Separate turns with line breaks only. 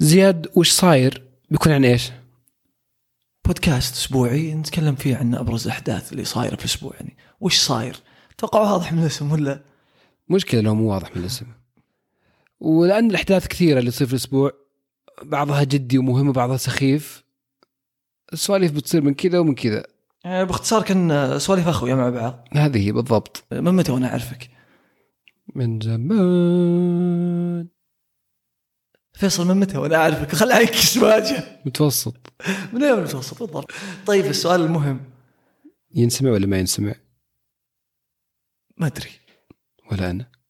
زياد وش صاير بيكون يعني عن ايش؟
بودكاست اسبوعي نتكلم فيه عن ابرز الاحداث اللي صايره في الاسبوع يعني وش صاير؟ اتوقع واضح من الاسم ولا
مشكله لو مو واضح من الاسم ولان الاحداث كثيره اللي تصير في الاسبوع بعضها جدي ومهم وبعضها سخيف السواليف بتصير من كذا ومن كذا
يعني باختصار كان سواليف اخويا مع بعض
هذه هي بالضبط
من متى وانا اعرفك؟
من زمان
فيصل من متى وانا اعرفك خل انكش واجه
متوسط
من ايام المتوسط بالضبط طيب السؤال المهم
ينسمع ولا ما ينسمع
ما ادري
ولا انا